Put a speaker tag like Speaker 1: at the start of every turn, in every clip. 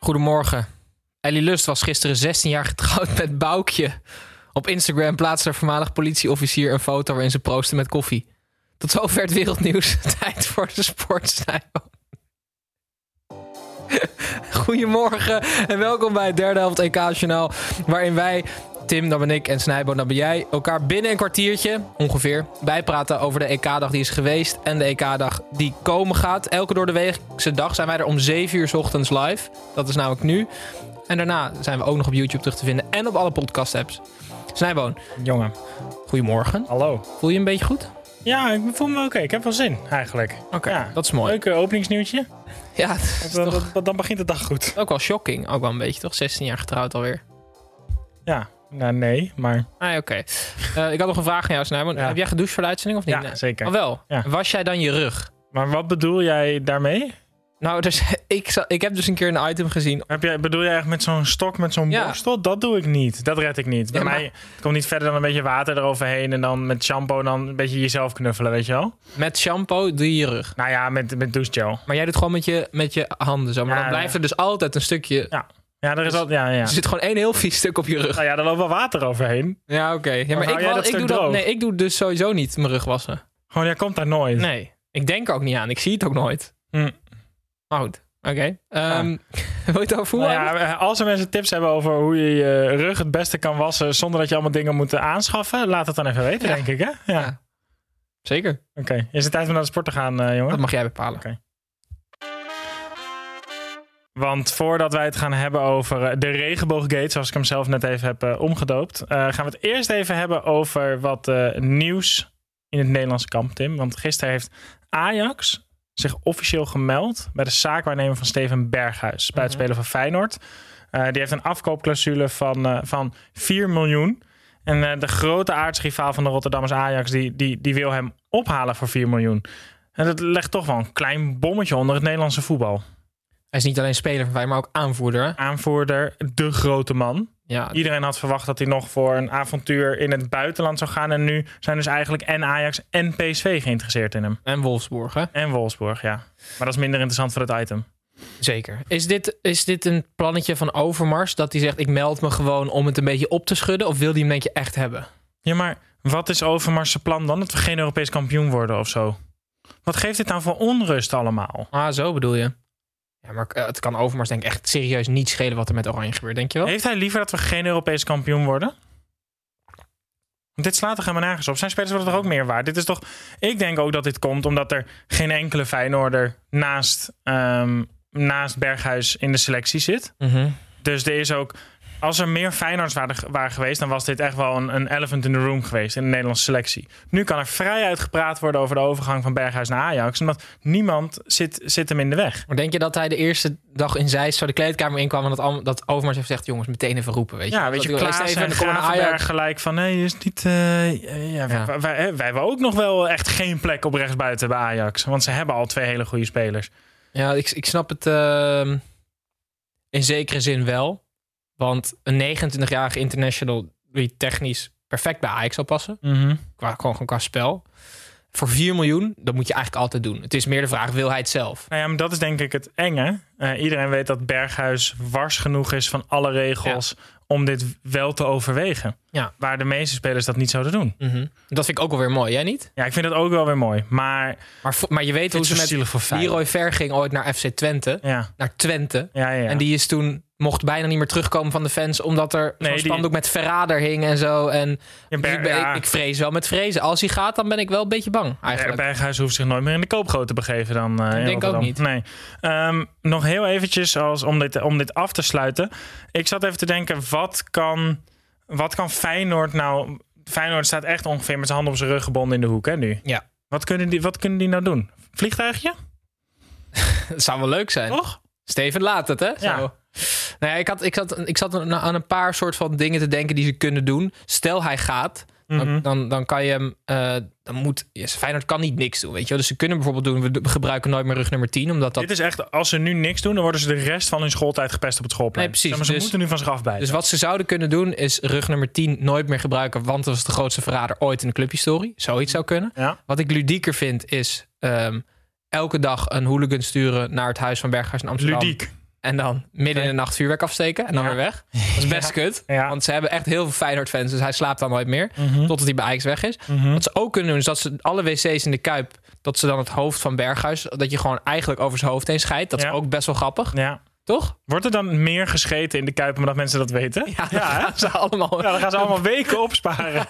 Speaker 1: Goedemorgen. Ellie Lust was gisteren 16 jaar getrouwd met Boukje. Op Instagram plaatste een voormalig politieofficier een foto waarin ze proosten met koffie. Tot zover het wereldnieuws. Tijd voor de sportstijl. Goedemorgen en welkom bij het derde helft EK-journaal. Waarin wij, Tim, dan ben ik en Snijbo, dan ben jij, elkaar binnen een kwartiertje ongeveer bijpraten over de EK-dag die is geweest en de EK-dag die komen gaat. Elke door de weekse dag zijn wij er om 7 uur 's ochtends live. Dat is namelijk nu. En daarna zijn we ook nog op YouTube terug te vinden en op alle podcast-apps. Snijboon,
Speaker 2: Jongen,
Speaker 1: goedemorgen.
Speaker 2: hallo.
Speaker 1: Voel je een beetje goed?
Speaker 2: Ja, ik voel me oké. Ik heb wel zin, eigenlijk.
Speaker 1: Oké,
Speaker 2: Ja.
Speaker 1: dat is mooi.
Speaker 2: Leuk eh, openingsnieuwtje.
Speaker 1: Ja, dat is
Speaker 2: Dat- dat-
Speaker 1: toch
Speaker 2: dat- dan begint de dag goed.
Speaker 1: ook wel shocking. Ook wel een beetje, toch? 16 jaar getrouwd alweer.
Speaker 2: Ja, nou nee, maar
Speaker 1: Ah, oké. Eh, ik had nog een vraag aan jou, Snijboon.
Speaker 2: Ja.
Speaker 1: Heb jij gedoucht voor de uitzending of niet?
Speaker 2: ja,
Speaker 1: Nee.
Speaker 2: zeker.
Speaker 1: Oh, wel.
Speaker 2: Ja.
Speaker 1: Was jij dan je rug?
Speaker 2: Maar wat bedoel jij daarmee?
Speaker 1: Nou, dus, ik, zal- ik heb dus een keer een item gezien.
Speaker 2: Heb jij, bedoel jij echt met zo'n stok, met zo'n
Speaker 1: Ja.
Speaker 2: borstel? Dat doe ik niet. Dat red ik niet. Bij
Speaker 1: Ja, maar-
Speaker 2: mij het komt niet verder dan een beetje water eroverheen en dan met shampoo dan een beetje jezelf knuffelen, weet je wel?
Speaker 1: Met shampoo doe je je rug.
Speaker 2: Nou ja, met, met douchegel.
Speaker 1: Maar jij doet gewoon met je, met je handen zo. Maar
Speaker 2: Ja,
Speaker 1: dan blijft
Speaker 2: ja.
Speaker 1: er dus altijd een stukje...
Speaker 2: Ja. Ja, er is al, ja, ja.
Speaker 1: Er zit gewoon één heel vies stuk op je rug.
Speaker 2: Nou ja, er loopt wel water overheen.
Speaker 1: Ja, oké. Ja, maar
Speaker 2: hou
Speaker 1: ik,
Speaker 2: jij
Speaker 1: wel-
Speaker 2: dat
Speaker 1: ik
Speaker 2: stuk
Speaker 1: doe dat,
Speaker 2: droog?
Speaker 1: nee, ik doe dus sowieso niet mijn rug wassen.
Speaker 2: Gewoon, jij komt daar nooit.
Speaker 1: Nee. Ik denk er ook niet aan. Ik zie het ook nooit.
Speaker 2: Hm. Ah.
Speaker 1: Maar goed. Oké. Ehm, wil je het over voelen?
Speaker 2: Nou ja, als er mensen tips hebben over hoe je je rug het beste kan wassen zonder dat je allemaal dingen moet eh, aanschaffen, laat het dan even weten,
Speaker 1: Ja.
Speaker 2: denk ik. Hè? Ja.
Speaker 1: Ja. Zeker.
Speaker 2: Oké, is het tijd om naar de sport te gaan, eh, jongen?
Speaker 1: Dat mag jij bepalen.
Speaker 2: Oké. Want voordat wij het gaan hebben over eh, de regenbooggate, zoals ik hem zelf net even heb eh, omgedoopt, eh, gaan we het eerst even hebben over wat eh, nieuws in het Nederlandse kamp, Tim. Want gisteren heeft Ajax zich officieel gemeld bij de zaakwaarnemer van Steven Berghuis, buitenspeler van Feyenoord. Eh, die heeft een afkoopclausule van, eh, van 4 miljoen. En eh, de grote aardsrivaal van de Rotterdammers Ajax, die, die, die wil hem ophalen voor 4 miljoen. En dat legt toch wel een klein bommetje onder het Nederlandse voetbal.
Speaker 1: Hij is niet alleen speler van wij, maar ook aanvoerder. hè?
Speaker 2: Aanvoerder, de grote man.
Speaker 1: Ja,
Speaker 2: Iedereen had verwacht dat hij nog voor een avontuur in het buitenland zou gaan. En nu zijn dus eigenlijk en Ajax en PSV geïnteresseerd in hem.
Speaker 1: en Wolfsburg, hè?
Speaker 2: En Wolfsburg, ja. Maar dat is minder interessant voor het item.
Speaker 1: Zeker. Is dit, is dit een plannetje van Overmars dat hij zegt: ik meld me gewoon om het een beetje op te schudden? Of wil hij hem denk je echt hebben?
Speaker 2: Ja, maar wat is Overmars' plan dan? Dat we geen Europees kampioen worden of zo? Wat geeft dit nou voor onrust allemaal?
Speaker 1: Ah, zo bedoel je. Ja, maar eh, het kan Overmars denk ik echt serieus niet schelen wat er met Oranje gebeurt, denk je wel?
Speaker 2: Heeft hij liever dat we geen Europees kampioen worden? Want dit slaat toch helemaal nergens op. Zijn spelers worden toch ook meer waard? Dit is toch... Ik denk ook dat dit komt omdat er geen enkele Feyenoorder naast, ehm, naast Berghuis in de selectie zit.
Speaker 1: Mhm.
Speaker 2: Dus er is ook... Als er meer Feyenoords waren, waren geweest, dan was dit echt wel een, een elephant in the room geweest in de Nederlandse selectie. Nu kan er vrij uitgepraat worden over de overgang van Berghuis naar Ajax, omdat niemand zit, zit hem in de weg.
Speaker 1: Maar denk je dat hij de eerste dag in Zeist zo de kleedkamer inkwam en dat, allemaal- dat Overmars heeft gezegd: jongens, meteen even roepen? Weet je?
Speaker 2: Ja, weet je,
Speaker 1: Dat hij-
Speaker 2: Klaas
Speaker 1: Steven,
Speaker 2: en
Speaker 1: kom maar naar Ajax.
Speaker 2: Gravenberg gelijk van... Nee, is niet... eh, eh, ja,
Speaker 1: Ja.
Speaker 2: Wij, wij, wij hebben ook nog wel echt geen plek op rechtsbuiten bij Ajax. Want ze hebben al twee hele goede spelers.
Speaker 1: Ja, ik, ik snap het ehm, in zekere zin wel. Want een 29-jarige international die technisch perfect bij Ajax zou passen. qua, gewoon, gewoon qua spel. Voor 4 miljoen, dat moet je eigenlijk altijd doen. Het is meer de vraag, wil hij het zelf?
Speaker 2: Nou ja, maar dat is denk ik het enge. Eh, iedereen weet dat Berghuis wars genoeg is van alle regels... om dit wel te overwegen.
Speaker 1: Ja.
Speaker 2: Waar de meeste spelers dat niet zouden doen.
Speaker 1: Mhm. Dat vind ik ook wel weer mooi. Jij niet?
Speaker 2: Ja, ik vind dat ook wel weer mooi. Maar
Speaker 1: Maar, vo- maar je weet hoe
Speaker 2: het is zo
Speaker 1: ze met
Speaker 2: zielig voor Feyenoord.
Speaker 1: Leroy Ver ging ooit naar FC Twente.
Speaker 2: Ja,
Speaker 1: Naar Twente.
Speaker 2: ja, ja. ja.
Speaker 1: En die is toen, mocht bijna niet meer terugkomen van de fans. Omdat er zo'n
Speaker 2: Nee, die-
Speaker 1: spandoek met verrader hing en zo. En
Speaker 2: Ja,
Speaker 1: dus
Speaker 2: Ber-
Speaker 1: ik, ben-
Speaker 2: ja.
Speaker 1: ik, ik vrees wel met vrezen. Als hij gaat, dan ben ik wel een beetje bang
Speaker 2: Ja,
Speaker 1: eigenlijk.
Speaker 2: Berghuis hoeft zich nooit meer in de koopgoot te begeven dan eh in
Speaker 1: denk ik ook
Speaker 2: Rotterdam.
Speaker 1: niet.
Speaker 2: Nee. Ehm, nog heel eventjes als, om, dit, om dit af te sluiten. Ik zat even te denken, wat kan, wat kan Feyenoord nou... Feyenoord staat echt ongeveer met zijn handen op zijn rug gebonden in de hoek hè, nu.
Speaker 1: Ja.
Speaker 2: Wat kunnen die, wat kunnen die nou doen? Vliegtuigje?
Speaker 1: Het zou wel leuk zijn.
Speaker 2: Toch?
Speaker 1: Steven laat het, hè?
Speaker 2: Ja.
Speaker 1: Zo. Nou ja, ik, had, ik zat, ik zat aan- aan een paar soort van dingen te denken die ze kunnen doen. Stel hij gaat,
Speaker 2: Mhm.
Speaker 1: dan, dan, dan kan je hem... eh, dan moet, yes, Feyenoord kan niet niks doen, weet je wel. Dus ze kunnen bijvoorbeeld doen... we d- gebruiken nooit meer rug nummer 10, omdat dat...
Speaker 2: Dit is echt, als ze nu niks doen, dan worden ze de rest van hun schooltijd gepest op het schoolplein.
Speaker 1: Nee, precies.
Speaker 2: Zeg maar, ze
Speaker 1: Dus-
Speaker 2: moeten nu van zich afbijten.
Speaker 1: Dus wat ze zouden kunnen doen is rug nummer 10 nooit meer gebruiken... want dat was de grootste verrader ooit in de clubhistorie. Zoiets zou kunnen.
Speaker 2: ja.
Speaker 1: Wat ik ludieker vind is... ehm, elke dag een hooligan sturen naar het huis van Berghuis in Amsterdam.
Speaker 2: Ludiek.
Speaker 1: En dan midden in de nacht vuurwerk afsteken en dan
Speaker 2: Ja.
Speaker 1: weer weg. Dat is best kut.
Speaker 2: Ja.
Speaker 1: Want ze hebben echt heel veel Feyenoord-fans, dus hij slaapt dan nooit meer.
Speaker 2: Mhm.
Speaker 1: Totdat hij bij Ajax weg is.
Speaker 2: Mhm.
Speaker 1: Wat ze ook kunnen doen, is dat ze alle wc's in de Kuip... dat ze dan het hoofd van Berghuis... dat je gewoon eigenlijk over zijn hoofd heen scheidt. Dat
Speaker 2: Ja.
Speaker 1: is ook best wel grappig,
Speaker 2: ja.
Speaker 1: toch?
Speaker 2: Wordt er dan meer gescheten in de Kuip omdat mensen dat weten?
Speaker 1: Ja, dan
Speaker 2: hè?
Speaker 1: gaan ze allemaal
Speaker 2: Ja, dan gaan ze allemaal weken opsparen.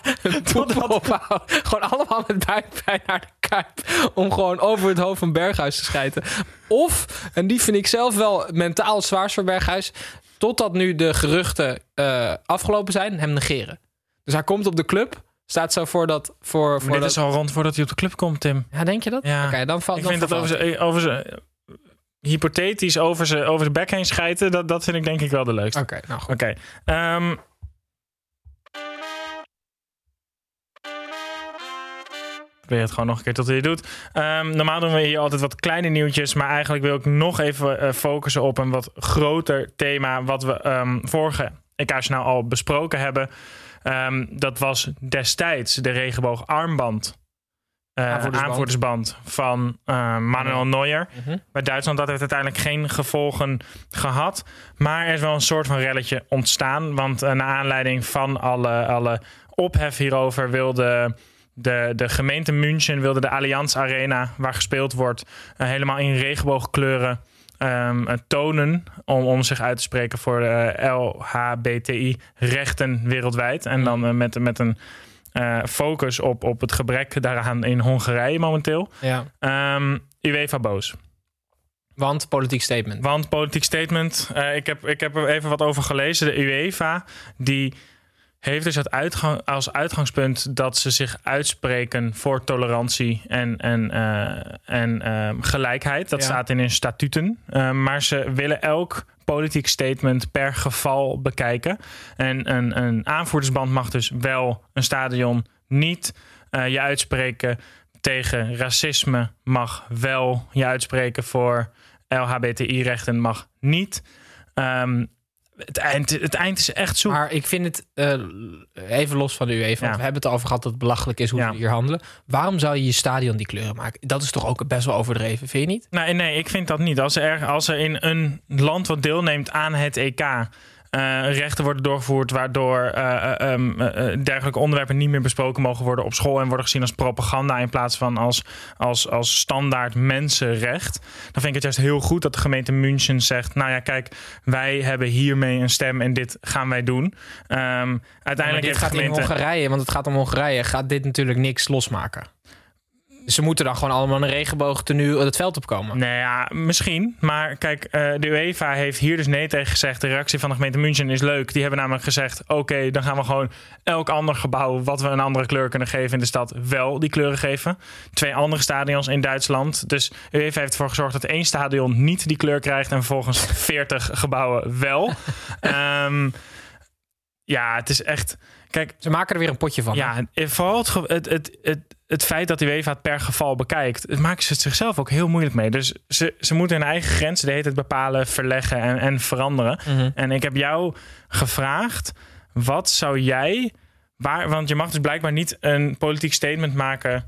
Speaker 1: poepen ophouden. Gewoon allemaal met buikpijn naar de Kuip... om gewoon over het hoofd van Berghuis te schijten. Of, en die vind ik zelf wel mentaal het zwaarst voor Berghuis... totdat nu de geruchten eh, afgelopen zijn, hem negeren. Dus hij komt op de club... Staat zo voor dat... Voor, voor
Speaker 2: Dit
Speaker 1: dat
Speaker 2: is al rond voordat hij op de club komt, Tim.
Speaker 1: Ja, denk je dat?
Speaker 2: Ja.
Speaker 1: Oké, dan valt
Speaker 2: Ik
Speaker 1: dan
Speaker 2: vind dat over
Speaker 1: vervalt-
Speaker 2: ze, over ze, hypothetisch over ze, over ze bek heen schijten, dat, dat vind ik denk ik wel de leukste.
Speaker 1: Oké, nou goed.
Speaker 2: Oké. ehm, Probeer het gewoon nog een keer tot hij het doet. Ehm, normaal doen we hier altijd wat kleine nieuwtjes. Maar eigenlijk wil ik nog even eh, focussen op een wat groter thema. Wat we ehm, vorige EK's nou al besproken hebben. Ehm, dat was destijds de regenboogarmband. eh,
Speaker 1: Aanvoerdersband.
Speaker 2: aanvoerdersband van eh, Manuel Neuer.
Speaker 1: Mhm.
Speaker 2: Bij Duitsland had het uiteindelijk geen gevolgen gehad. Maar er is wel een soort van relletje ontstaan. Want eh, naar aanleiding van alle, alle ophef hierover wilde de, de gemeente München wilde de Allianz Arena, waar gespeeld wordt, eh, helemaal in regenboogkleuren ehm, eh, tonen. Om, om zich uit te spreken voor de eh, LHBTI-rechten wereldwijd. En dan eh, met, met een eh, focus op, op het gebrek daaraan in Hongarije momenteel.
Speaker 1: Ja.
Speaker 2: Ehm UEFA boos.
Speaker 1: Want politiek statement.
Speaker 2: Want politiek statement. eh, ik, heb, ik heb er even wat over gelezen. De UEFA die heeft dus het uitgang, als uitgangspunt dat ze zich uitspreken voor tolerantie en, en, eh, en ehm, gelijkheid. Dat
Speaker 1: Ja.
Speaker 2: staat in hun statuten. Eh, maar ze willen elk politiek statement per geval bekijken. En een, een aanvoerdersband mag dus wel een stadion niet eh, je uitspreken tegen racisme mag wel je uitspreken voor LHBTI-rechten mag niet. Ehm, het, eind, het eind is echt zoek.
Speaker 1: Maar ik vind het, eh, even los van de UEFA, want
Speaker 2: Ja.
Speaker 1: we hebben het al over gehad dat het belachelijk is hoe
Speaker 2: Ja.
Speaker 1: ze hier handelen. Waarom zou je je stadion die kleuren maken? Dat is toch ook best wel overdreven, vind je niet?
Speaker 2: Nee, nee, ik vind dat niet. Als er, als er in een land wat deelneemt aan het EK eh, rechten worden doorgevoerd, waardoor eh, eh, ehm, eh, eh, dergelijke onderwerpen niet meer besproken mogen worden op school en worden gezien als propaganda in plaats van als, als, als standaard mensenrecht, dan vind ik het juist heel goed dat de gemeente München zegt: Nou ja, kijk, wij hebben hiermee een stem en dit gaan wij doen. Ehm,
Speaker 1: Maar
Speaker 2: uiteindelijk
Speaker 1: dit
Speaker 2: heeft
Speaker 1: gaat
Speaker 2: de gemeente.
Speaker 1: in Hongarije, want het gaat om Hongarije, gaat dit natuurlijk niks losmaken. Dus ze moeten dan gewoon allemaal in een regenboog tenue het veld opkomen.
Speaker 2: Nou ja, misschien. Maar kijk, eh, de UEFA heeft hier dus nee tegen gezegd. De reactie van de gemeente München is leuk. Die hebben namelijk gezegd: oké, dan gaan we gewoon elk ander gebouw wat we een andere kleur kunnen geven in de stad wel die kleuren geven. Twee andere stadions in Duitsland. Dus de UEFA heeft ervoor gezorgd dat één stadion niet die kleur krijgt en vervolgens 40 gebouwen wel. Ehm, ja, het is echt. Kijk,
Speaker 1: Ze maken er weer een potje van. hè?
Speaker 2: ja, en vooral het, ge- het, het, het, het feit dat de UEFA het per geval bekijkt, het maken ze het zichzelf ook heel moeilijk mee. Dus ze, ze moeten hun eigen grenzen de hele tijd bepalen, verleggen en, en veranderen.
Speaker 1: Mhm.
Speaker 2: En ik heb jou gevraagd, wat zou jij, waar, want je mag dus blijkbaar niet een politiek statement maken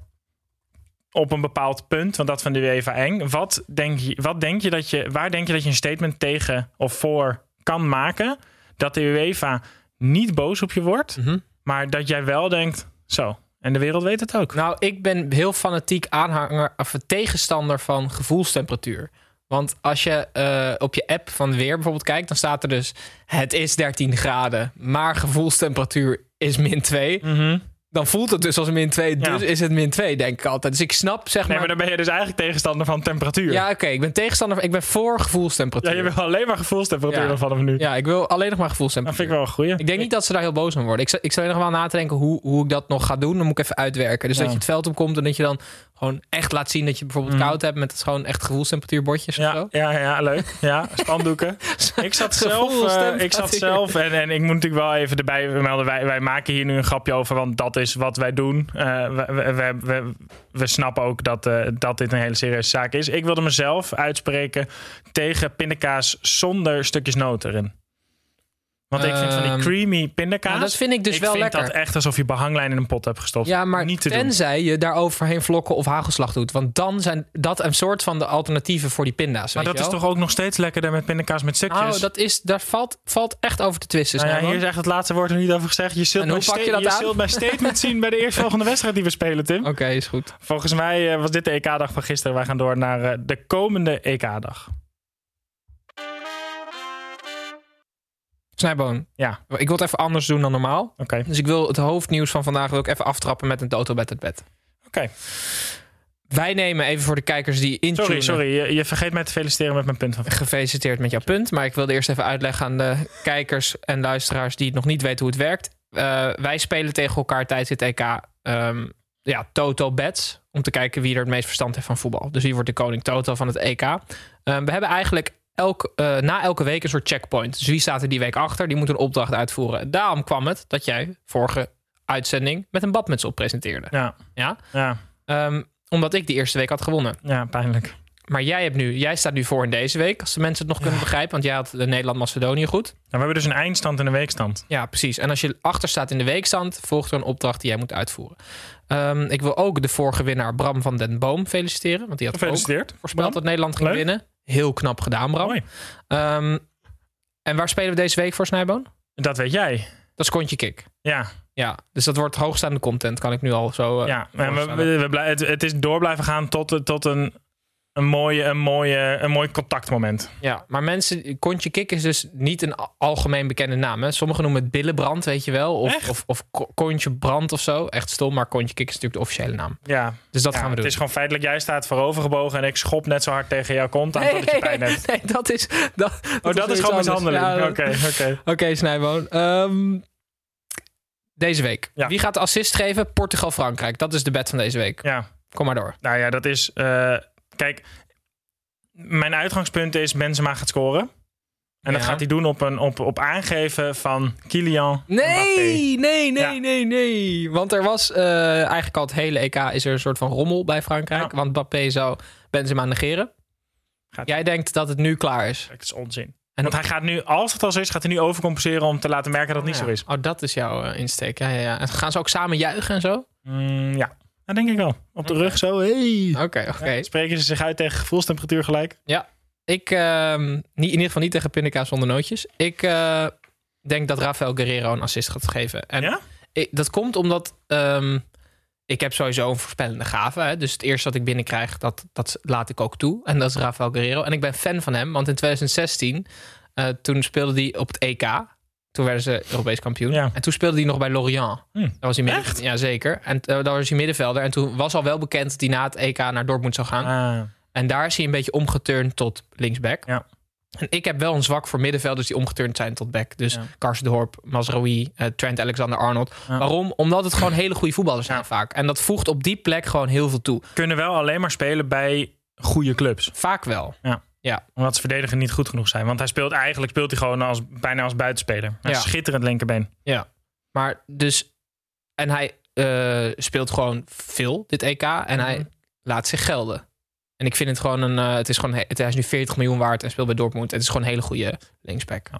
Speaker 2: op een bepaald punt, want dat van de UEFA eng. Wat denk je, wat denk je dat je, waar denk je dat je een statement tegen of voor kan maken dat de UEFA niet boos op je wordt,
Speaker 1: Mhm.
Speaker 2: maar dat jij wel denkt, zo. En de wereld weet het ook.
Speaker 1: Nou, ik ben heel fanatiek aanhanger of tegenstander van gevoelstemperatuur. Want als je eh, op je app van weer bijvoorbeeld kijkt, dan staat er dus: het is 13 graden, maar gevoelstemperatuur is min 2.
Speaker 2: Mhm.
Speaker 1: Dan voelt het dus als min 2, dus
Speaker 2: Ja.
Speaker 1: is het min 2, denk ik altijd. Dus ik snap, zeg
Speaker 2: Nee,
Speaker 1: maar.
Speaker 2: maar dan ben je dus eigenlijk tegenstander van temperatuur.
Speaker 1: ja, oké, ik ben tegenstander, ik ben voor
Speaker 2: Ja,
Speaker 1: gevoelstemperatuur.
Speaker 2: je wil alleen maar gevoelstemperatuur
Speaker 1: Ja.
Speaker 2: vanaf nu.
Speaker 1: Ja, ik wil alleen nog maar
Speaker 2: Dat
Speaker 1: gevoelstemperatuur.
Speaker 2: vind ik wel een goeie.
Speaker 1: Ik denk niet dat ze daar heel boos om worden. Ik, zou- ik zou er nog wel na te denken hoe, hoe ik dat nog ga doen. Dan moet ik even uitwerken. Dus
Speaker 2: Ja.
Speaker 1: dat je het veld opkomt en dat je dan gewoon echt laat zien dat je bijvoorbeeld
Speaker 2: Mhm.
Speaker 1: koud hebt met het gewoon echt gevoelstemperatuurbordjes of
Speaker 2: Ja,
Speaker 1: zo. Nou,
Speaker 2: ja, ja, leuk. Ja, spandoeken. Ik zat zelf, eh,
Speaker 1: Gevoelstemperatuur.
Speaker 2: ik zat zelf en, en ik moet natuurlijk wel even erbij melden. Wij, wij maken hier nu een grapje over, want dat is wat wij doen. Eh, we, we, we, we, we snappen ook dat, eh, dat dit een hele serieuze zaak is. Ik wilde mezelf uitspreken tegen pindakaas zonder stukjes noot erin. Want ik vind van die
Speaker 1: Ehm,
Speaker 2: creamy pindakaas...
Speaker 1: Nou, dat vind ik dus
Speaker 2: ik
Speaker 1: wel
Speaker 2: vind
Speaker 1: lekker.
Speaker 2: dat echt alsof je behanglijn in een pot hebt gestopt.
Speaker 1: ja, maar
Speaker 2: niet te doen.
Speaker 1: tenzij je daar overheen vlokken of hagelslag doet. Want dan zijn dat een soort van de alternatieven voor die pinda's.
Speaker 2: Maar
Speaker 1: weet
Speaker 2: dat is
Speaker 1: je wel?
Speaker 2: toch ook nog steeds lekkerder met pindakaas met stukjes?
Speaker 1: Nou, dat is, daar valt, valt echt over te twisten.
Speaker 2: Nou ja,
Speaker 1: Snijboon.
Speaker 2: hier is echt het laatste woord er niet over gezegd. Je zult,
Speaker 1: Dus En hoe
Speaker 2: mijn,
Speaker 1: pak
Speaker 2: sta-
Speaker 1: je dat
Speaker 2: je
Speaker 1: aan?
Speaker 2: zult mijn statement zien bij de eerstvolgende wedstrijd die we spelen, Tim.
Speaker 1: Oké, is goed.
Speaker 2: Volgens mij eh, was dit de EK-dag van gisteren. Wij gaan door naar eh, de komende EK-dag.
Speaker 1: Snijboon.
Speaker 2: Ja.
Speaker 1: Ik wil het even anders doen dan normaal.
Speaker 2: Oké.
Speaker 1: Dus ik wil het hoofdnieuws van vandaag wil ik even aftrappen met een toto bed het bed.
Speaker 2: Oké.
Speaker 1: Wij nemen even voor de kijkers die intunen.
Speaker 2: Sorry, sorry. Je, je vergeet mij te feliciteren met mijn punt van
Speaker 1: Gefeliciteerd met jouw punt. Maar ik wilde eerst even uitleggen aan de kijkers en luisteraars die het nog niet weten hoe het werkt. Eh, wij spelen tegen elkaar tijdens dit EK ehm, ja, Toto Bets. Om te kijken wie er het meest verstand heeft van voetbal. Dus wie wordt de koning Toto van het EK. Ehm, we hebben eigenlijk elk, eh, na elke week een soort checkpoint. Dus wie staat er die week achter? Die moet een opdracht uitvoeren. Daarom kwam het dat jij vorige uitzending met een badmuts op presenteerde.
Speaker 2: Ja.
Speaker 1: Ja?
Speaker 2: Ja,
Speaker 1: Ehm, omdat ik die eerste week had gewonnen.
Speaker 2: ja pijnlijk. Nou,
Speaker 1: Maar jij, hebt nu, jij staat nu voor in deze week, als de mensen het nog kunnen begrijpen. Want jij had eh, Nederland-Macedonië goed.
Speaker 2: Nou, we hebben dus een eindstand en een weekstand.
Speaker 1: Ja, precies. En als je achter staat in de weekstand, volgt er een opdracht die jij moet uitvoeren. Ehm, ik wil ook de vorige winnaar Bram van den Boom feliciteren. Want die had ook
Speaker 2: Gefeliciteerd.
Speaker 1: voorspeld dat Nederland ging
Speaker 2: Leuk.
Speaker 1: winnen. Heel knap gedaan, Bram.
Speaker 2: Mooi.
Speaker 1: Ehm, en waar spelen we deze week voor, Snijboon?
Speaker 2: Dat weet jij.
Speaker 1: Dat is Kontje Kick.
Speaker 2: Ja,
Speaker 1: Ja, dus dat wordt hoogstaande content, kan ik nu al zo... eh,
Speaker 2: ja. En we,
Speaker 1: voorstellen.
Speaker 2: we, we blij- het, het is door blijven gaan tot, eh, tot een, een, mooie, een, mooie, een mooi contactmoment.
Speaker 1: Ja, maar mensen, kontje kik is dus niet een a- algemeen bekende naam. Hè? Sommigen noemen het billenbrand, weet je wel. Of,
Speaker 2: Echt?
Speaker 1: of, of ko- kontje brand of zo. Echt stom, maar kontje kik is natuurlijk de officiële naam.
Speaker 2: Ja,
Speaker 1: Dus dat
Speaker 2: Ja,
Speaker 1: gaan we doen.
Speaker 2: Het is gewoon feitelijk, jij staat voorovergebogen en ik schop net zo hard tegen jouw kont aan totdat je pijn hebt.
Speaker 1: nee, dat is... Dat,
Speaker 2: Oh, dat is gewoon
Speaker 1: iets anders.
Speaker 2: mishandeling.
Speaker 1: Ja,
Speaker 2: Oké,
Speaker 1: dat-
Speaker 2: oké.
Speaker 1: Oké, Snijboon. Ehm, deze week.
Speaker 2: Ja.
Speaker 1: Wie gaat de assist geven? Portugal-Frankrijk. Dat is de bet van deze week.
Speaker 2: Ja,
Speaker 1: Kom maar door.
Speaker 2: nou ja, dat is... eh, kijk, mijn uitgangspunt is Benzema gaat scoren. En dat
Speaker 1: Ja.
Speaker 2: gaat hij doen op, een, op, op aangeven van Kylian Mbappé.
Speaker 1: Nee, nee, nee,
Speaker 2: Ja.
Speaker 1: nee, nee. Want er was eh, eigenlijk al het hele EK is er een soort van rommel bij Frankrijk.
Speaker 2: Ja.
Speaker 1: Want Mbappé zou Benzema negeren.
Speaker 2: Gaat-
Speaker 1: Jij denkt dat het nu klaar is.
Speaker 2: Dat is onzin.
Speaker 1: En-
Speaker 2: Want hij gaat nu, als het al zo is, gaat hij nu overcompenseren om te laten merken dat het niet
Speaker 1: Ja.
Speaker 2: zo is.
Speaker 1: Oh, dat is jouw eh, insteek. Ja, ja, ja. En gaan ze ook samen juichen en zo? Oké,
Speaker 2: Mm, ja, dat denk ik wel. Op de rug zo, hey.
Speaker 1: oké.
Speaker 2: Ja, spreken ze zich uit tegen gevoelstemperatuur gelijk?
Speaker 1: Ik, ehm, niet, in ieder geval niet tegen pindakaas zonder nootjes. Ik eh, denk dat Rafael Guerrero een assist gaat geven. En
Speaker 2: Ja?
Speaker 1: ik- dat komt omdat ehm, ik heb sowieso een voorspellende gave. Hè? Dus het eerste wat ik binnenkrijg, dat, dat laat ik ook toe. En dat is Rafael Guerrero. En ik ben fan van hem, want in 2016, eh, toen speelde hij op het EK. Toen werden ze Europees kampioen.
Speaker 2: Ja.
Speaker 1: En toen speelde hij nog bij Lorient.
Speaker 2: Hm.
Speaker 1: Dat was hij midden-
Speaker 2: Echt?
Speaker 1: Ja, zeker. En eh, daar was hij middenvelder. En toen was al wel bekend dat hij na het EK naar Dortmund zou gaan.
Speaker 2: Ah,
Speaker 1: En daar is hij een beetje omgeturnd tot linksback.
Speaker 2: Ja.
Speaker 1: En ik heb wel een zwak voor middenvelders die omgeturnd zijn tot back. Dus
Speaker 2: Ja.
Speaker 1: Karsdorp, Mazraoui, eh, Trent Alexander-Arnold.
Speaker 2: Ja.
Speaker 1: Waarom? Omdat het gewoon hele goede voetballers zijn
Speaker 2: Ja.
Speaker 1: vaak. En dat voegt op die plek gewoon heel veel toe.
Speaker 2: kunnen wel alleen maar spelen bij goede clubs.
Speaker 1: Vaak wel.
Speaker 2: Omdat ze verdedigen niet goed genoeg zijn. Want hij speelt eigenlijk speelt hij gewoon als, bijna als buitenspeler. Hij
Speaker 1: Ja.
Speaker 2: is schitterend linkerbeen.
Speaker 1: Maar dus... En hij eh, speelt gewoon veel, dit EK. En hij
Speaker 2: Mhm.
Speaker 1: laat zich gelden. En ik vind het gewoon een... eh, het is gewoon, he- het, hij is nu 40 miljoen waard en speelt bij Dortmund. Het is gewoon een hele goede linksback.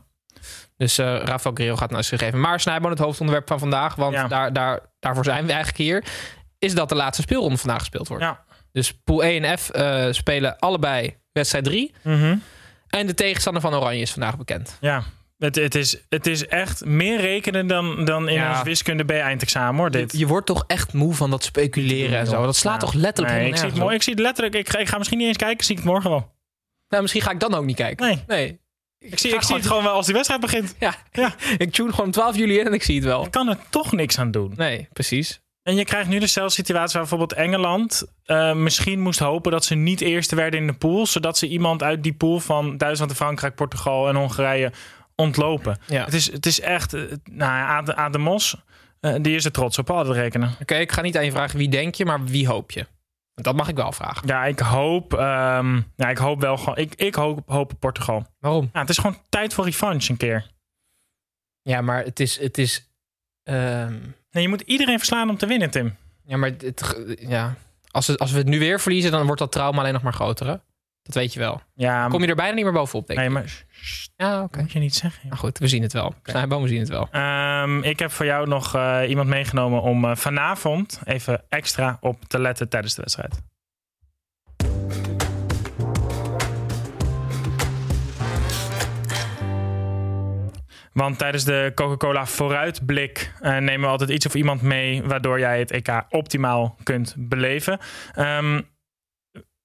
Speaker 1: Dus eh Rafael Guerrero gaat naar zich geven. Maar Snijboon, het hoofdonderwerp van vandaag... want
Speaker 2: Ja.
Speaker 1: daar, daar, daarvoor zijn we eigenlijk hier... is dat de laatste speelronde vandaag gespeeld wordt.
Speaker 2: Ja.
Speaker 1: Dus Pool E en F eh, Mhm. spelen allebei wedstrijd 3. En de tegenstander van Oranje is vandaag bekend.
Speaker 2: Ja. Het, het, is, het is echt meer rekenen dan, dan in
Speaker 1: Ja.
Speaker 2: ons wiskunde B-eindexamen hoor, dit.
Speaker 1: Je wordt toch echt moe van dat speculeren en zo. Dat slaat
Speaker 2: Ja.
Speaker 1: toch letterlijk
Speaker 2: nee, ik
Speaker 1: helemaal
Speaker 2: zie, het,
Speaker 1: nergens
Speaker 2: mo-
Speaker 1: op?
Speaker 2: ik zie het letterlijk. Ik ga, ik ga misschien niet eens kijken, zie ik het morgen wel.
Speaker 1: Nou, misschien ga ik dan ook niet kijken.
Speaker 2: Nee. Ik zie,
Speaker 1: ga
Speaker 2: ik zie
Speaker 1: gewoon-
Speaker 2: het gewoon wel als die wedstrijd begint.
Speaker 1: Ja, ik tune gewoon 12 juli in en ik zie het wel.
Speaker 2: Ik kan er toch niks aan doen.
Speaker 1: Nee, precies.
Speaker 2: En je krijgt nu dezelfde situatie waar bijvoorbeeld Engeland eh, misschien moest hopen dat ze niet eerste werden in de pool. Zodat ze iemand uit die pool van Duitsland en Frankrijk, Portugal en Hongarije ontlopen.
Speaker 1: Ja.
Speaker 2: Het, is, het is echt, eh, nou ja, Ade- Ademos, eh, die is er trots op, al dat rekenen.
Speaker 1: Oké, ik ga niet aan je vragen wie denk je, maar wie hoop je? Want Dat mag ik wel vragen.
Speaker 2: Ja, ik hoop, ehm, ja, ik hoop wel gewoon, ik, ik hoop, hoop op Portugal.
Speaker 1: Waarom?
Speaker 2: Ja, het is gewoon tijd voor revanche een keer.
Speaker 1: Ja, maar het is... Het is ehm,
Speaker 2: Nee, je moet iedereen verslaan om te winnen, Tim.
Speaker 1: ja, maar het, ge- ja. Als, we, als we het nu weer verliezen, dan wordt dat trauma alleen nog maar groter, hè? Dat weet je wel.
Speaker 2: Ja,
Speaker 1: Kom je er bijna niet meer bovenop, denk ik.
Speaker 2: nee, maar sst,
Speaker 1: Ja, oké.
Speaker 2: moet je niet zeggen. joh.
Speaker 1: Nou goed, we zien het wel. Snijboom, we zien het wel.
Speaker 2: Ehm, ik heb voor jou nog eh, iemand meegenomen om eh, vanavond even extra op te letten tijdens de wedstrijd. Want tijdens de Coca-Cola vooruitblik eh, nemen we altijd iets of iemand mee waardoor jij het EK optimaal kunt beleven. Ehm,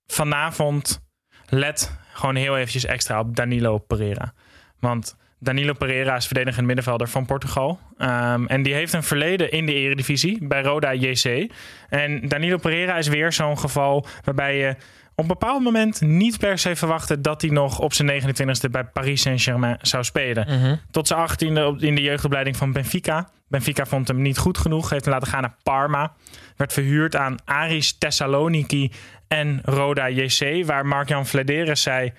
Speaker 2: vanavond let gewoon heel eventjes extra op Danilo Pereira. Want Danilo Pereira is verdedigend middenvelder van Portugal. Ehm, en die heeft een verleden in de eredivisie bij Roda JC. En Danilo Pereira is weer zo'n geval waarbij je op een bepaald moment niet per se verwachtte dat hij nog op zijn 29e bij Paris Saint-Germain zou spelen. Tot zijn 18e op- in de jeugdopleiding van Benfica. Benfica vond hem niet goed genoeg, heeft hem laten gaan naar Parma. Werd verhuurd aan Aris Thessaloniki en Roda JC, waar Marc-Jan Vladeres zei...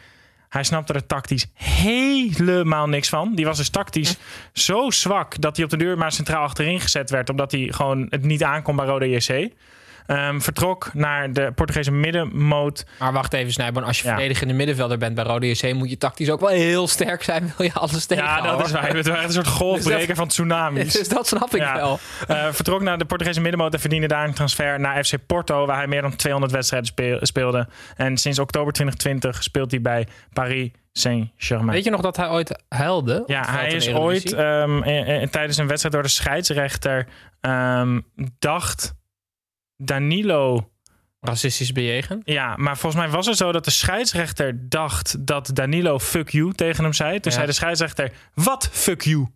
Speaker 2: Hij snapte er tactisch helemaal niks van. Die was dus tactisch zo zwak dat hij op de deur maar centraal achterin gezet werd. Omdat hij gewoon het niet aankon bij Roda JC. Ehm, vertrok naar de Portugese middenmoot.
Speaker 1: Maar wacht even, Snijboom. Als je
Speaker 2: Ja.
Speaker 1: verdedigende middenvelder bent bij Rode JC, moet je tactisch ook wel heel sterk zijn. Wil je alles
Speaker 2: Ja, Dus
Speaker 1: tegenhouden?
Speaker 2: dat is waar. Het was echt een soort golfbreker van tsunamis.
Speaker 1: Dus dat snap ik
Speaker 2: Ja.
Speaker 1: wel.
Speaker 2: Eh, vertrok naar de Portugese middenmoot en verdiende daar een transfer naar FC Porto, waar hij meer dan 200 wedstrijden speel- speelde. En sinds oktober 2020 speelt hij bij Paris Saint-Germain.
Speaker 1: Weet je nog dat hij ooit huilde? op het
Speaker 2: Ja,
Speaker 1: veld
Speaker 2: hij
Speaker 1: in
Speaker 2: is
Speaker 1: de
Speaker 2: ooit
Speaker 1: Eredivisie?
Speaker 2: ehm, eh, eh, tijdens een wedstrijd door de scheidsrechter ehm, dacht Danilo.
Speaker 1: racistisch bejegend.
Speaker 2: Ja, maar volgens mij was het zo dat de scheidsrechter dacht dat Danilo fuck you tegen hem zei. Toen
Speaker 1: Ja.
Speaker 2: zei de scheidsrechter, wat fuck you?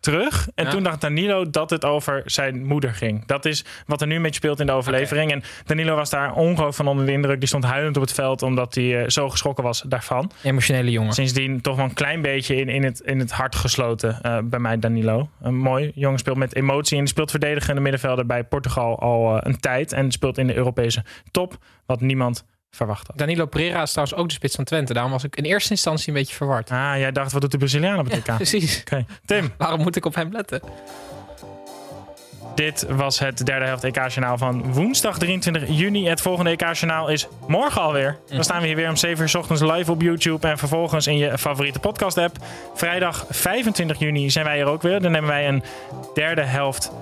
Speaker 2: Terug. En
Speaker 1: Ja.
Speaker 2: toen dacht Danilo dat het over zijn moeder ging. Dat is wat er nu een beetje speelt in de overlevering. En Danilo was daar ongelooflijk van onder de indruk. Die stond huilend op het veld omdat hij eh, zo geschrokken was daarvan.
Speaker 1: Emotionele jongen.
Speaker 2: Sindsdien toch wel een klein beetje in, in, het, in het hart gesloten eh, bij mij, Danilo. Een mooi jongen speelt met emotie en speelt verdedigende middenvelder bij Portugal al eh, een tijd. En speelt in de Europese top, wat niemand verwacht had.
Speaker 1: Danilo Pereira is trouwens ook de spits van Twente. Daarom was ik in eerste instantie een beetje verward.
Speaker 2: Ah, jij dacht, wat doet de Braziliaan op het EK?
Speaker 1: Precies.
Speaker 2: Oké. Tim,
Speaker 1: Waarom moet ik op hem letten?
Speaker 2: dit was het derde helft EK-journaal van woensdag 23 juni. Het volgende EK-journaal is morgen alweer. Dan staan we hier weer om 7 uur 's ochtends live op YouTube en vervolgens in je favoriete podcast-app. Vrijdag 25 juni zijn wij er ook weer. Dan nemen wij een derde helft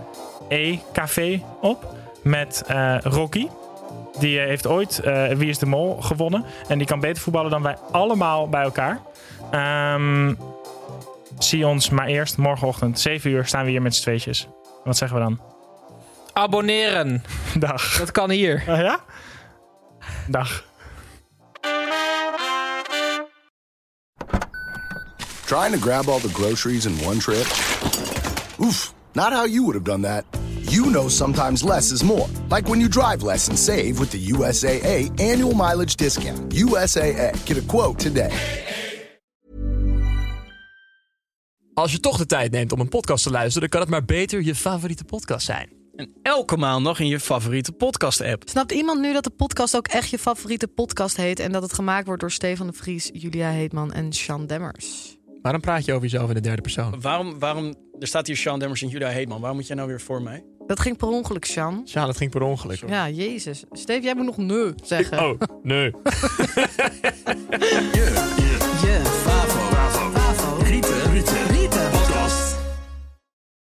Speaker 2: E-café op met eh, Rocky. Die eh, heeft ooit eh, Wie is de Mol gewonnen. En die kan beter voetballen dan wij allemaal bij elkaar. Ehm, zie ons maar eerst morgenochtend 7 uur staan we hier met z'n tweetjes. Wat zeggen we dan?
Speaker 1: Abonneren.
Speaker 2: Dag.
Speaker 1: Dat kan hier.
Speaker 2: ja? Dag.
Speaker 3: Trying to grab all the groceries in one trip? Oof, not how you would have done that. You know sometimes less is more. Like when you drive less and save with the USAA annual mileage discount. USAA, get a quote today.
Speaker 4: Als je toch de tijd neemt om een podcast te luisteren, dan kan het maar beter je favoriete podcast zijn.
Speaker 5: En elke maand nog in je favoriete podcast-app.
Speaker 6: Snapt iemand nu dat de podcast ook echt je favoriete podcast heet en dat het gemaakt wordt door Stefan de Vries, Julia Heetman en Sean Demmers?
Speaker 4: Waarom praat je over jezelf in de derde persoon?
Speaker 5: Waarom, waarom, er staat hier Sean Demmers en Judah Heetman. Waarom moet jij nou weer voor mij?
Speaker 6: Dat ging per ongeluk, Sean.
Speaker 4: Ja, dat ging per ongeluk.
Speaker 6: Ja, jezus. Steef, jij moet nog nee zeggen.
Speaker 4: Oh, nee.
Speaker 3: Yeah, yeah.